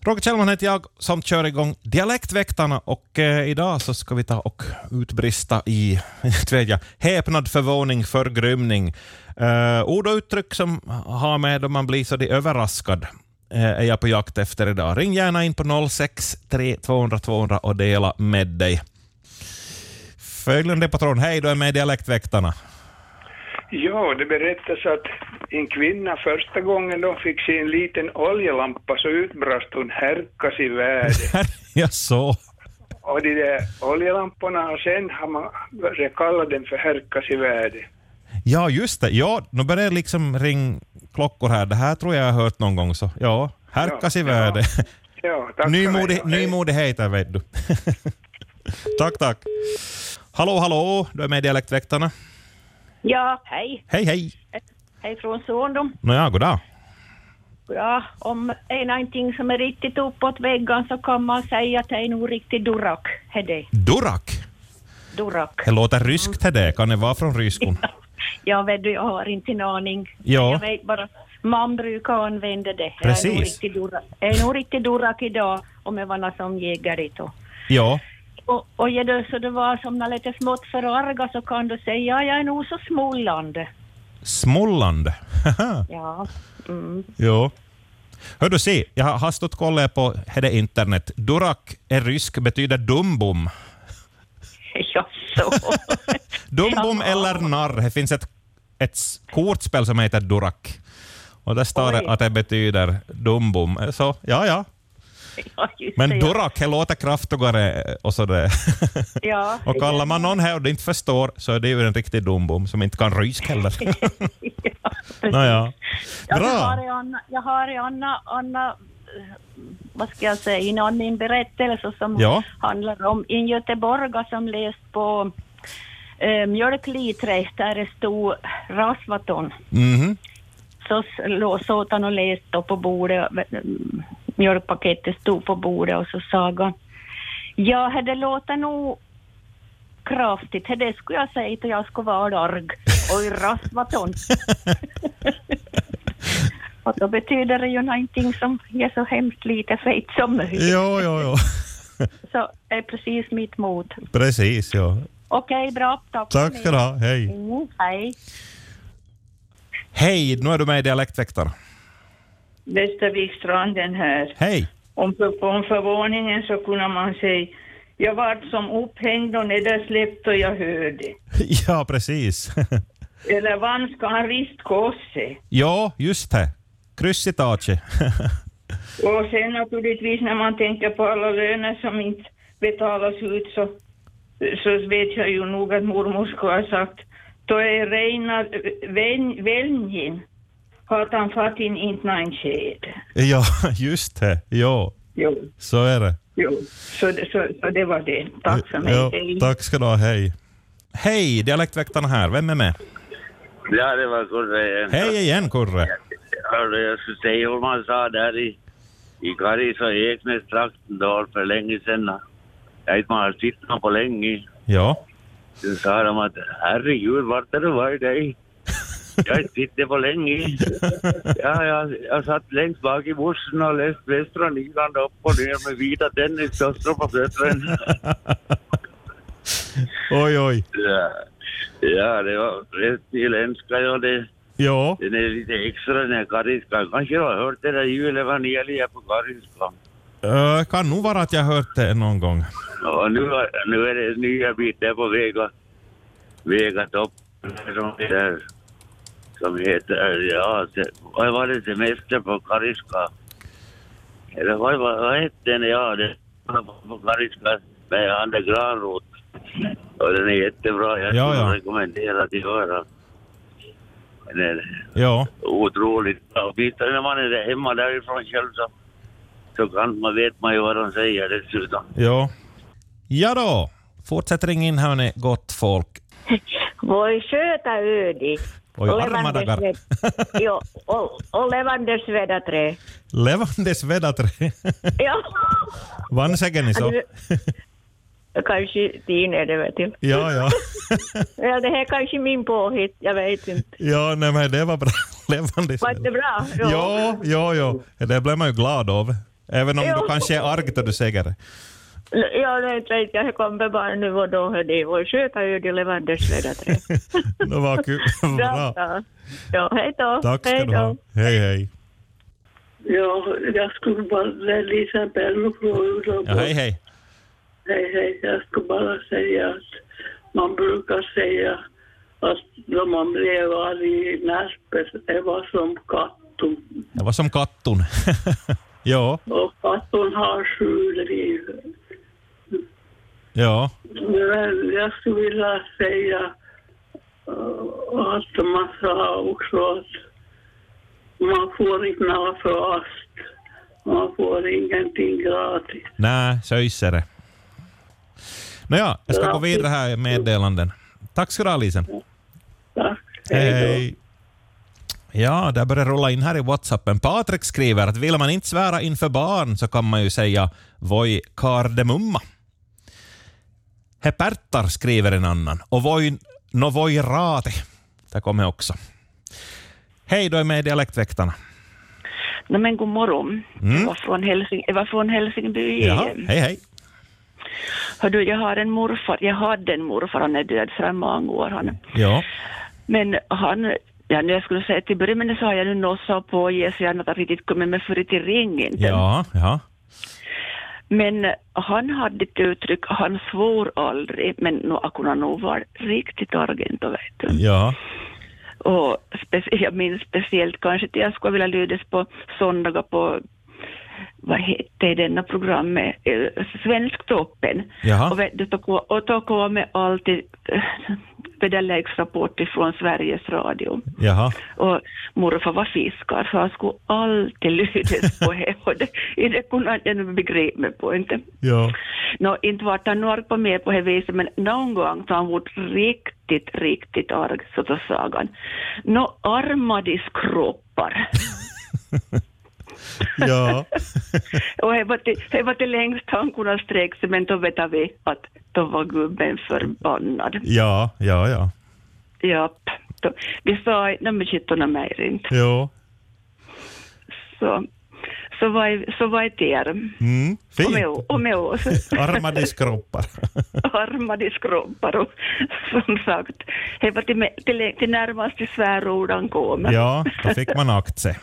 Roger Kjellman heter jag som kör igång Dialektväktarna och eh, idag så ska vi ta och utbrista i tveja, häpnad, förvåning, förgrymning. Eh, ord och uttryck som har med då man blir så det överraskad eh, är jag på jakt efter idag. Ring gärna in på 063 200 200 och dela med dig. Följande patron, hej, då är med Dialektväktarna. Ja, det berättas att en kvinna första gången då fick se en liten oljelampa så utbrast hon härkas i världen. jag så. Och de där oljelamporna har sen har man börjat kalla den för härkas i världen. Ja, just det. Ja, nu börjar det liksom ring klockor här. Det här tror jag jag har hört någon gång. Så, ja, härkas i Ja, världen. Ja, tack Nymodi, för mig. nymodigheter, vet du. tack, tack. Hallå, hallå, du är med i Dialektväktarna. Ja, hej. Hej, hej. Hej från Suondom. Nåja, goddag. Ja, om det är någonting som är riktigt uppåt väggen så kan man säga att det är nog riktigt durak. Är det? Durak. Durak. Det låter ryskt det där. Kan det vara från ryskon? Jag vet du, jag har inte en aning. Ja. Jag vet bara, man brukar använda det. Jag är Precis. nog riktigt durak, jag är nog riktigt durak idag om jag var någon som jägare då. Ja. Och, och är det så det var som när lite smått förarga så kan du säga, ja, jag är nog så smålande. Smållande. Ja. Mm. Jo. Hör du, se, jag har hastigt kollat på är det internet. Durak är rysk, betyder dumbom. Ja, så. Dumbom Ja. eller narr. Det finns ett, ett s- kortspel som heter Durak. Och där står Oj. det att det betyder dumbom. Så, ja, ja. Ja, just Men det, ja. Durak, det låter kraftigare eh, och sådär. Ja. Och kallar man någon här och det inte förstår så är det ju en riktig dumbom som inte kan rysk heller. ja, precis. Nåja. Ja, Jag har Bra. en annan, jag har en annan, annan eh, vad ska jag säga, en annan berättelse som Ja. handlar om en göteborgare som läst på eh, mjölklitre där det stod rasvaton. Mhm. Så s- lå- satt han och läste då på bordet, eh, mjölkpaketet stod på bordet och så sa han, ja det låter nog kraftigt, det skulle jag säga att jag skulle vara arg. Oj, rasvaton. och då betyder det ju någonting som är så hemskt lite fett som möjligt. Jo, jo, jo. Så är precis mitt mod. Precis, ja. Okej, bra. Tack, Tack ska du ha. Hej. Mm, Hej. Hej, nu är du med i Dialektväktarna. Västervikstranden här. Hej. Om, för, om förvåningen så kunde man säga jag vart som upphängd och nedersläppt och jag hörde. Ja, precis. Eller vanska han ristkosse. Ja, just det. Kryss i taket. Och sen naturligtvis när man tänker på alla löner som inte betalas ut så, så vet jag ju nog att mormor skulle ha sagt då är Reinar Ven- Velnjin har han fatt in inte någon sked. Ja, just det. Ja, Jo, så är det. jo. Så, det- så, så det var det. Tack för mig. Ja, Hej. tack ska du ha. Hej. Hej, Dialektväktarna här. Vem är med? Ja, det var Kurre igen. Hej igen, Kurre. Hörru, jag skulle säga vad man sa där i, i Karis och Eknästrakten då för länge sedan. Jag vet man har sett någon på länge. Ja. Sen sa de att herregud, vart är du varit dig? Jag har inte sett dig på länge. Ja, jag, jag satt längst bak i bussen och läste Västra Nyland upp och ner med vita tennisdossor på fötterna. Oj, oj. Ja. ja, det var rätt nyländska. Ja, det, Ja. Den är lite extra den här kariskan. Kanske du har hört det där julevangeliet på kariskan. Eh, kan nog vara att jag hört det någon gång. Och nu, har- nu är det nya bitar på väg att, väg att upp. Som heter, som heter ja, se- vad var det semester på kariska? Eller vad, vad, vad hette den? Ja, det var på kariska med Ander Granroth. Och den är jättebra. Jag Ja, skulle ja. rekommendera att höra. Den är- Ja. otroligt bra. Visst, när man är hemma därifrån själv så, så kan man, vet man ju vad de säger dessutom. Ja. Ja då. Fortsätt ringa in hörni, gott folk. Voi söta ödi. Oj, arma dagar. jo, och, och levandes vedaträ. Levandes vedaträ. Ja, Vansägen i så. Alltså, kanske Tina är det vet du. Ja, ja. Ja, det här är kanske min påhitt, jag vet inte. Ja, nej men det var bra. Levandes Var det bra? Ja, ja, ja. Det blev man ju glad av. Även om du Jo. kanske är arg då du säger det. Ja, det vet inte jag. Jag kommer bara nu och då. De var sköta ju de levande svedatre. Det var kul. Bra. Ja, hej då. Tack ska hej du ha. då. Hej, hej. Ja, jag skulle bara, det är Lisa Bello från Uleåbo. Ja, hej, hej. Hej, hej. Jag skulle bara säga att man brukar säga att när man blev arg i Närpes, det var som katten. Det var som kattun. ja, Och katten har sju liv. ja. Men jag skulle vilja säga eh, att man sa också att man får inte något för ast. Man får ingenting gratis. Nej, så är det. Nåja, jag No ska gå vidare här i meddelanden. Tack ska du ha, Lisen. Tack. Hej. Ja, det börjar rulla in här i Whatsappen. Patrik skriver att vill man inte svära inför barn så kan man ju säga voi kardemumma. Hepertar skriver en annan. Och voi, no voi rate. Där kommer också. Hej, då är med i Dialektväktarna. No, men god morgon. Mm. Jag, var från Helsing, jag var från Helsingby Jaha, igen. hej hej. Hör du, jag har en morfar, jag hade en morfar, han är död sedan många år. Han. Ja, Men han, ja, nu jag skulle säga till början, men så har jag nu nossat och pågett så jag har inte riktigt kommit med förut i ringen. ja, ja. Men han hade ett uttryck, han svor aldrig, men nu han kunde nog vara riktigt argen då vet du. ja. Och spec- jag minns speciellt kanske att jag skulle vilja lydas på söndagar på, vad hette denna programmet, Eh, Svensktoppen. Jaha. Och, vet du, då kom- och då kom det alltid eh, väderleksrapport från Sveriges Radio. Jaha. Och morfar var fiskar så han skulle alltid lydas på det. Och det, det kunde jag nu begripa mig på inte. Ja. Nå, inte vart han nu arg på mig på det viset, men någon gång så han varit riktigt, riktigt arg, så då sa han Nå, arma dis kroppar. Ja. Och det var till- det var till längst han kunde sträcka sig, men då vet vi att då var gubben förbannad. Ja, ja, ja. Japp. Då, vi sa inte, "Nej, men shit, hon har mig inte. Jo. Så, så var så var det er. Mm. Och Fint. med, o- och med oss. Arma diskroppar. armar i skrumpar och som sagt, det var till, till, till närmaste svärordan kommer. Ja, då fick man akt sig.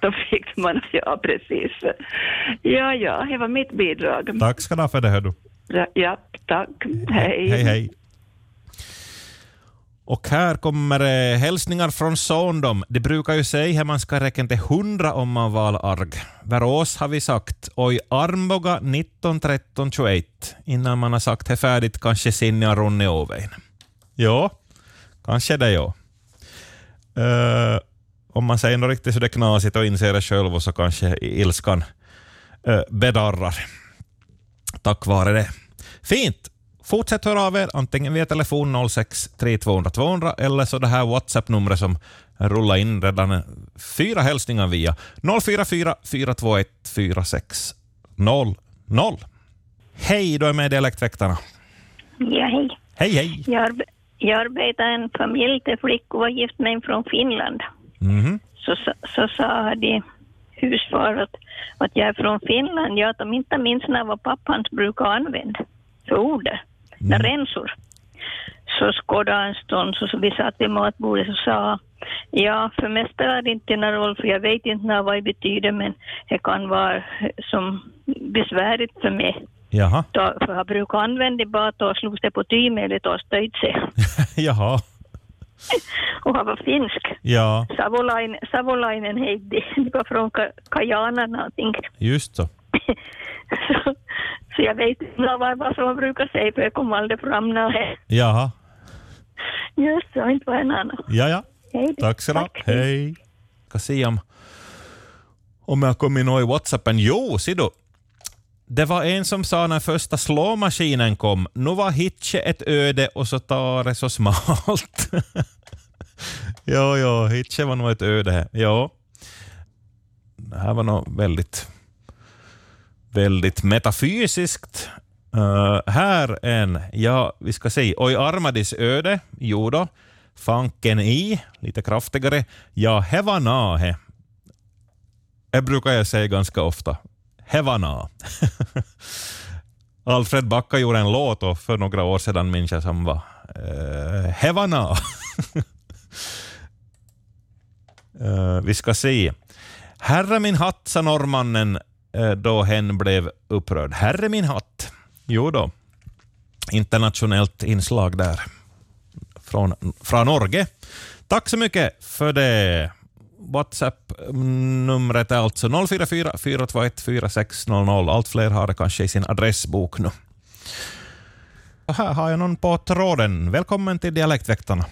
då fick man, ja precis. Ja, ja, det var mitt bidrag. Tack ska du ha för det. Här, du. Ja, Ja, tack. Hej. Hej, hej. Och här kommer eh, hälsningar från Sondom. Det brukar ju säga att man ska räkna till hundra om man var arg. Värås har vi sagt oj armboga 19, 13, 21 innan man har sagt det färdigt kanske Sinja Ronny Åvein. Ja, kanske det ja. Eh, om man säger något riktigt så det är knasigt och inser det själv och så kanske ilskan eh, bedarrar tack vare det. Fint! Fortsätt höra av er antingen via telefon 06 3200 200 eller så det här WhatsApp-numret som rullar in redan fyra hälsningar via 044 421 4600. Hej, då är med Dialektväktarna. Ja, hej. Hej, hej! Jag, arbe- jag arbetar i en familj där flickor var gift med en från Finland. Mhm. Så, så, så sa de husfar att, att jag är från Finland. Jag att de inte minns när vad pappan brukade använda för ordet, Mm. när rensor. Så skådade han en stund, så, så vi satt vid matbordet och sa Ja, för mig spelar det inte någon roll, för jag vet inte när vad det betyder, men det kan vara eh, som besvärligt för mig. Jaha. Då, för jag brukar använda det bara att jag slog det på tygmedlet och stöjde sig. Jaha. Och han var finsk. Ja, Savolainen, Savolainen hette det var från Ka- Kajana någonting. just så. Så, så jag vet inte vad, vad som man brukar säga för jag kom aldrig fram när jag... Jaha. Just så, inte var en annan. Ja, ja. Hej då. Tack så du ha. Hej. Ska se om, om jag kommer ihåg i Whatsappen. Jo, se du. Det var en som sa när första slåmaskinen kom, nu var Hitche ett öde och så tar det så smalt. ja, ja, Hitche var nog ett öde. här. Ja. Det här var nog väldigt, väldigt metafysiskt. Eh, här en, ja, vi ska se. Oj, Armadis öde. Jo då. Fanken i, lite kraftigare. Ja, hevanahe. Det brukar jag säga ganska ofta. Hevana. Alfred Backa gjorde en låt och för några år sedan minns jag som var eh, Hevana. Eh, vi ska se. Herre min hatt, sa norrmannen eh, då hen blev upprörd. Herre min hatt. Jo då. Internationellt inslag där från, från Norge. Tack så mycket för det. WhatsApp-numret är alltså 044 421 4600. Allt fler har det kanske i sin adressbok nu. Och här har jag någon på tråden. Välkommen till Dialektväktarna.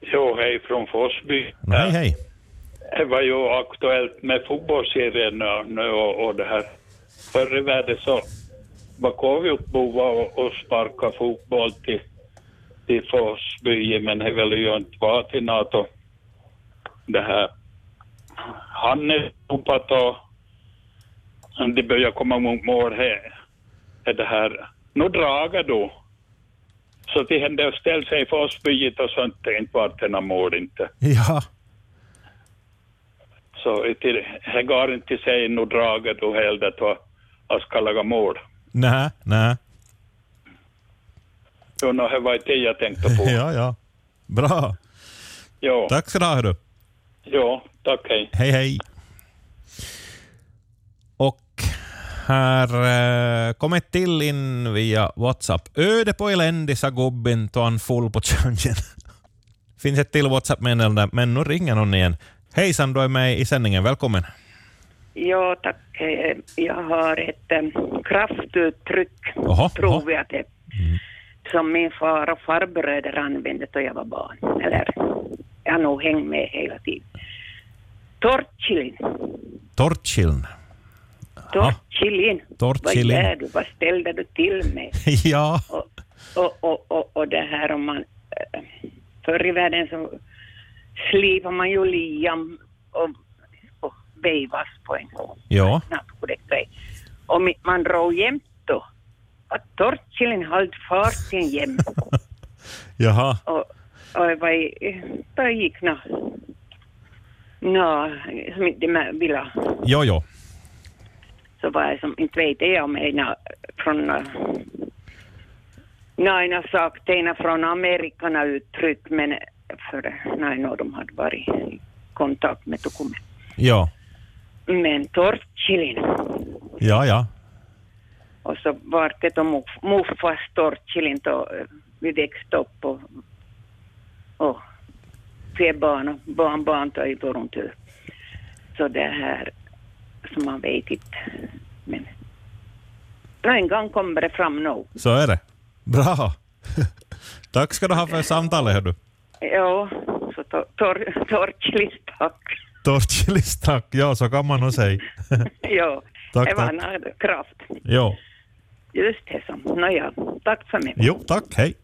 Jo, hej från Forsby. No, hej, hej. Det var ju aktuellt med fotbollsserien nu och, och det här. Förr i världen så var Kåvjokbo och, och sparka fotboll till, till Forsby, men det vill ju inte vara till NATO. Det här. Han är sopat och det börjar komma mot mål här. Är Det här. Nu dragar då. Så det hände att ställa sig i Forsby och sånt, det inte vart det några mål inte. Ja. Så till, här går inte till sig nu draget och heller att jag ska laga mål. Nej, nej. Jo, nå, det var det jag tänkte på. Ja, ja. Bra. Jo, Tack ska du ha. Hördu. jo tack hej. Hej, hej. Och här eh, kom ett till in via WhatsApp. Öde på elände, sa gubben då han full på tjungen. Finns ett till WhatsApp-meddelande, men nu ringer någon igen. Hejsan, du är med i sändningen. Välkommen. Ja, tack. Eh, Jag har ett eh, kraftuttryck, Jaha, tror jag att det som min far och farbröder använde då jag var barn. Eller, jag har nog hängt med hela tiden. Torrchilin. Tortchiln. Torrchilin. Torrchilin. Vad gör du? Vad ställde du till med? ja. Och, och, och, och det här om man... eh, Förr i världen så slipade man ju liam och, och vejvas på en gång. Ja. knappt på detta. Och mi- man drog jämt då. Att torkillen höll farten jämt. Jaha. Och, och det var i, då gick nå. Nå, som inte man ville. Jo, jo. Så var jag som, inte vet jag om ena från... eh, Nå, ena sagt, ena från Amerikana uttryck, men för, nej, nå, de hade varit i kontakt med Tukumi. Ja. Men torkillen. Ja, ja. Och så var det då muff- muffas torkilin då eh, vi växte upp och, och tre barn och barnbarn då i vår tur. Så det här som man vet inte. Men Nå, en gång kommer det fram nog. Så är det. Bra. Tack ska du ha för samtalet. Hördu. Ja, så to- tor- torkilin tack. Torchilis, tack. Ja, så kan man nog säga. Ja, Tack, det var tack. en kraft. jo. Just det som. Nåja, tack för mig. jo, tack. Hej.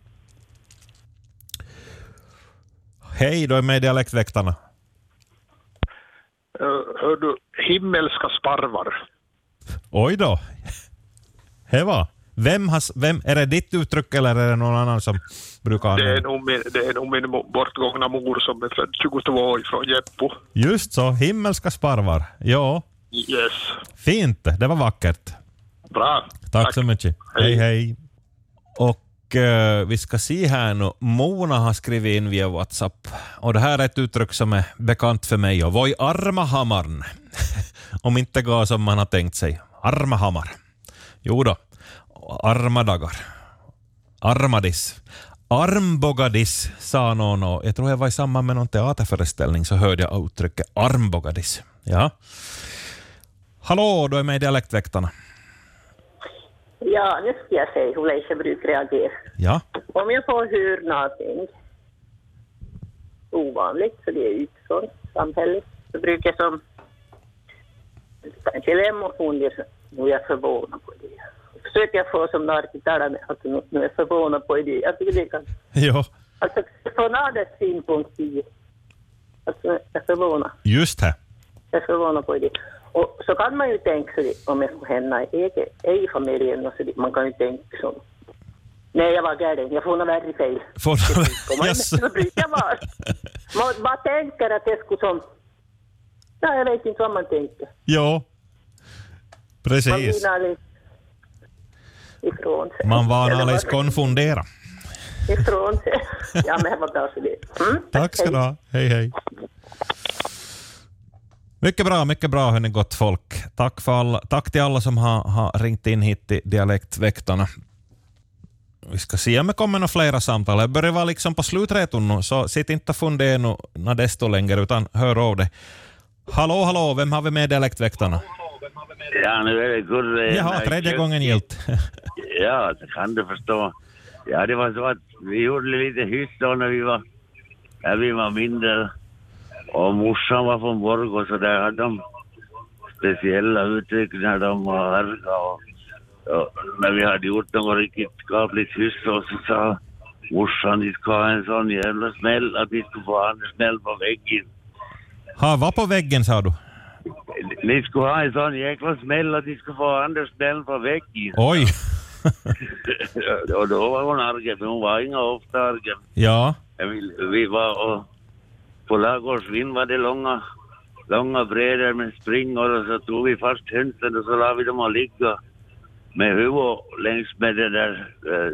Hej, du är med i Dialektväktarna. Eh, Hör du, himmelska sparvar. Oj då. Heva. Vem har, s- vem, är det ditt uttryck eller är det någon annan som brukar Det är använda nog min, det är nog min mo- bortgångna mor som är född 22 år från Jeppo. Just så, himmelska sparvar. Ja, Yes, fint. Det var vackert. bra. Tack, så mycket. Hej, hej. Och eh, vi ska se här nu. Mona har skrivit in via WhatsApp. Och det här är ett uttryck som är bekant för mig. Och voi arma hammaren. Om inte går som man har tänkt sig. Arma hammar. Jo då. Arma dagar. Armadis. Armbågadis sa någon och jag tror jag var i samband med någon teaterföreställning så hörde jag uttrycket armbågadis. Ja. Hallå, du är med i Dialektväktarna. Ja, nu ska jag säga hur Leise brukar reagera. Ja. Om jag får höra någonting ovanligt, för det är utifrån samhället, så brukar jag som kanske lämna och fundera, nu är jag förvånad på det. Försöker jag få som narkitalare att nu nu är jag förvånad på det. Jag tycker det kan, Ja. alltså från andras synpunkt i, alltså jag är förvånad. Just det. Jag är förvånad på det. Och så kan man ju tänka sig det, om det skulle hända i egen, ej familjen. och så det- man kan ju tänka så. Nej, jag var galen. Jag får nog värre fel. Får du... Kommer Yes. det brukar vara. Man, man tänker att det skulle som... Nej, jag vet inte vad man tänker. Ja. Precis. Man vinar lite ifrån sig. Man var Eller alldeles vad- konfunderad. Ifrån sig. Ja, men det var bra så det. Mm. Tack ska du ha. Hej, hej. Mycket bra, mycket bra hörni gott folk. Tack, för alla, tack till alla som har, har ringt in hit till Dialektväktarna. Vi ska se om det kommer några flera samtal. Jag börjar vara liksom på slutretun nu, så sitt inte och fundera nu nå desto längre, utan hör av dig. Hallå, hallå, vem har vi med i Dialektväktarna? Ja, nu är det Gurre. Jaha, tredje gången gillt. Ja, det kan du förstå. Ja, det var så att vi gjorde lite hyss då när vi var, när vi var mindre. Och morsan var från Borgå så där hade de speciella uttryck när de var arga. Och, och när vi hade gjort något riktigt skapligt hyss och så sa morsan, ni ska ha en sån jävla smäll att ni ska få ha en smäll på väggen. Ha, var på väggen sa du? Ni ska ha en sån jäkla smäll att ni ska få ha en smäll på väggen. Oj, Ja, och då var hon arg, för hon var inga ofta arg. ja. Vi, vi var och på ladugårdsvind var det långa, långa brädor med springor och så tog vi fast hönsen och så la vi dem att ligga med huvudet längs med de där eh,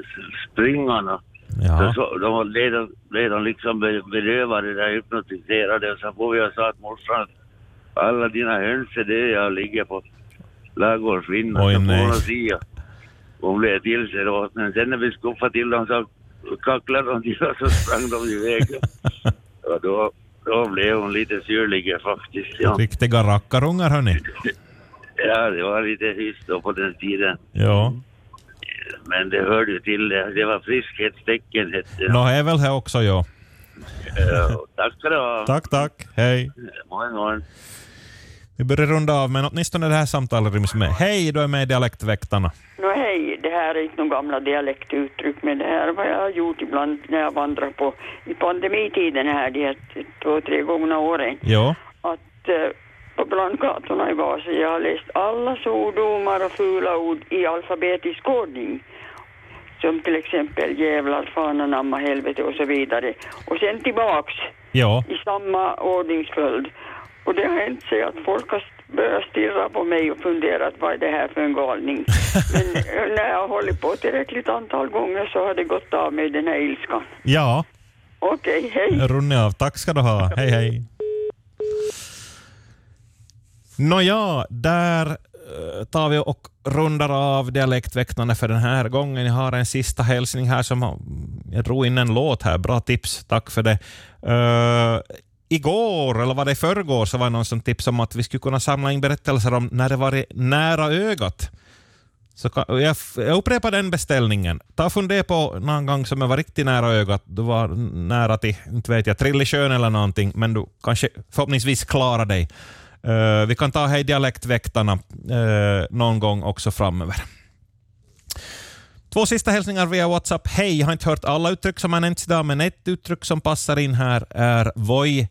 springorna. Så, så, de var redan, redan liksom be- bedövade, där hypnotiserade och så får vi och sa att morsan att alla dina höns är döda och ligger på ladugårdsvinden. Oj, Så får nej. hon oss i och Hon blev till sig då. Men sen när vi skuffade till dem så kacklade de till oss och sprang de iväg. och då, då blev hon lite syrlig faktiskt. Ja. Riktiga rackarungar hörni. ja, det var lite hyss då på den tiden. Ja. Men det hörde ju till det. Det var friskhetstecken hette det. Nå, det är väl här också ja. Ja, Tack ska du ha. Tack, tack. Hej. Moin, moin. Vi börjar runda av, men åtminstone det här samtalet ryms med. Hej, du är med i Dialektväktarna. Nå hej, det här är inte några gamla dialektuttryck, men det här är vad jag har gjort ibland när jag vandrar på i pandemitiden här, de här två, tre gångna åren. Ja. Att eh, på brandgatorna i Vasa, jag har läst alla svordomar och fula ord i alfabetisk ordning. Som till exempel jävlar, fan anamma, helvete och så vidare. Och sen tillbaks Ja. i samma ordningsföljd. Och det har hänt sig att folk har börjat stirra på mig och funderat vad är det här för en galning. Men eh, när jag har hållit på tillräckligt antal gånger så har det gått av mig den här ilskan. Ja, Okej, hej. jag rundar av. Tack ska du ha. Hej, hej. Nåja, där eh, tar vi och rundar av Dialektväktarna för den här gången. Jag har en sista hälsning här som har- jag drog in en låt här. Bra tips, tack för det. Eh, igår, eller var det i förrgår, så var det någon som tipsade om att vi skulle kunna samla in berättelser om när det varit nära ögat. Så kan, jag, f- jag upprepar den beställningen. Ta och fundera på någon gång som jag var riktigt nära ögat. Du var n- nära till, inte vet jag, Trillisjön eller någonting, men du kanske förhoppningsvis klarar dig. Eh, vi kan ta Hej dialektväktarna eh, någon gång också framöver. Två sista hälsningar via WhatsApp. Hej, jag har inte hört alla uttryck som har nämnts idag, men ett uttryck som passar in här är Voi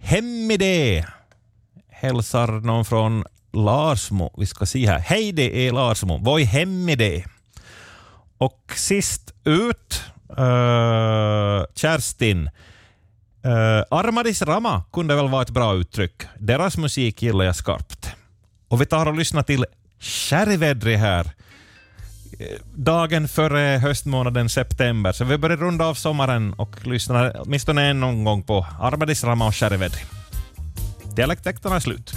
hemmide. Hälsar någon från Larsmo. Vi ska se här. Hej, det är Larsmo. Voi hemmide. Och sist ut, eh, Kerstin. Uh, Armadis Rama kunde väl vara ett bra uttryck. Deras musik gillar jag skarpt. Och vi tar och lyssnar till Kärrvädri här. Eh, Dagen före höstmånaden september, så vi börjar runda av sommaren och lyssna åtminstone en gång på Armadis Rama och Kärrvädri. Dialektväktarna är slut.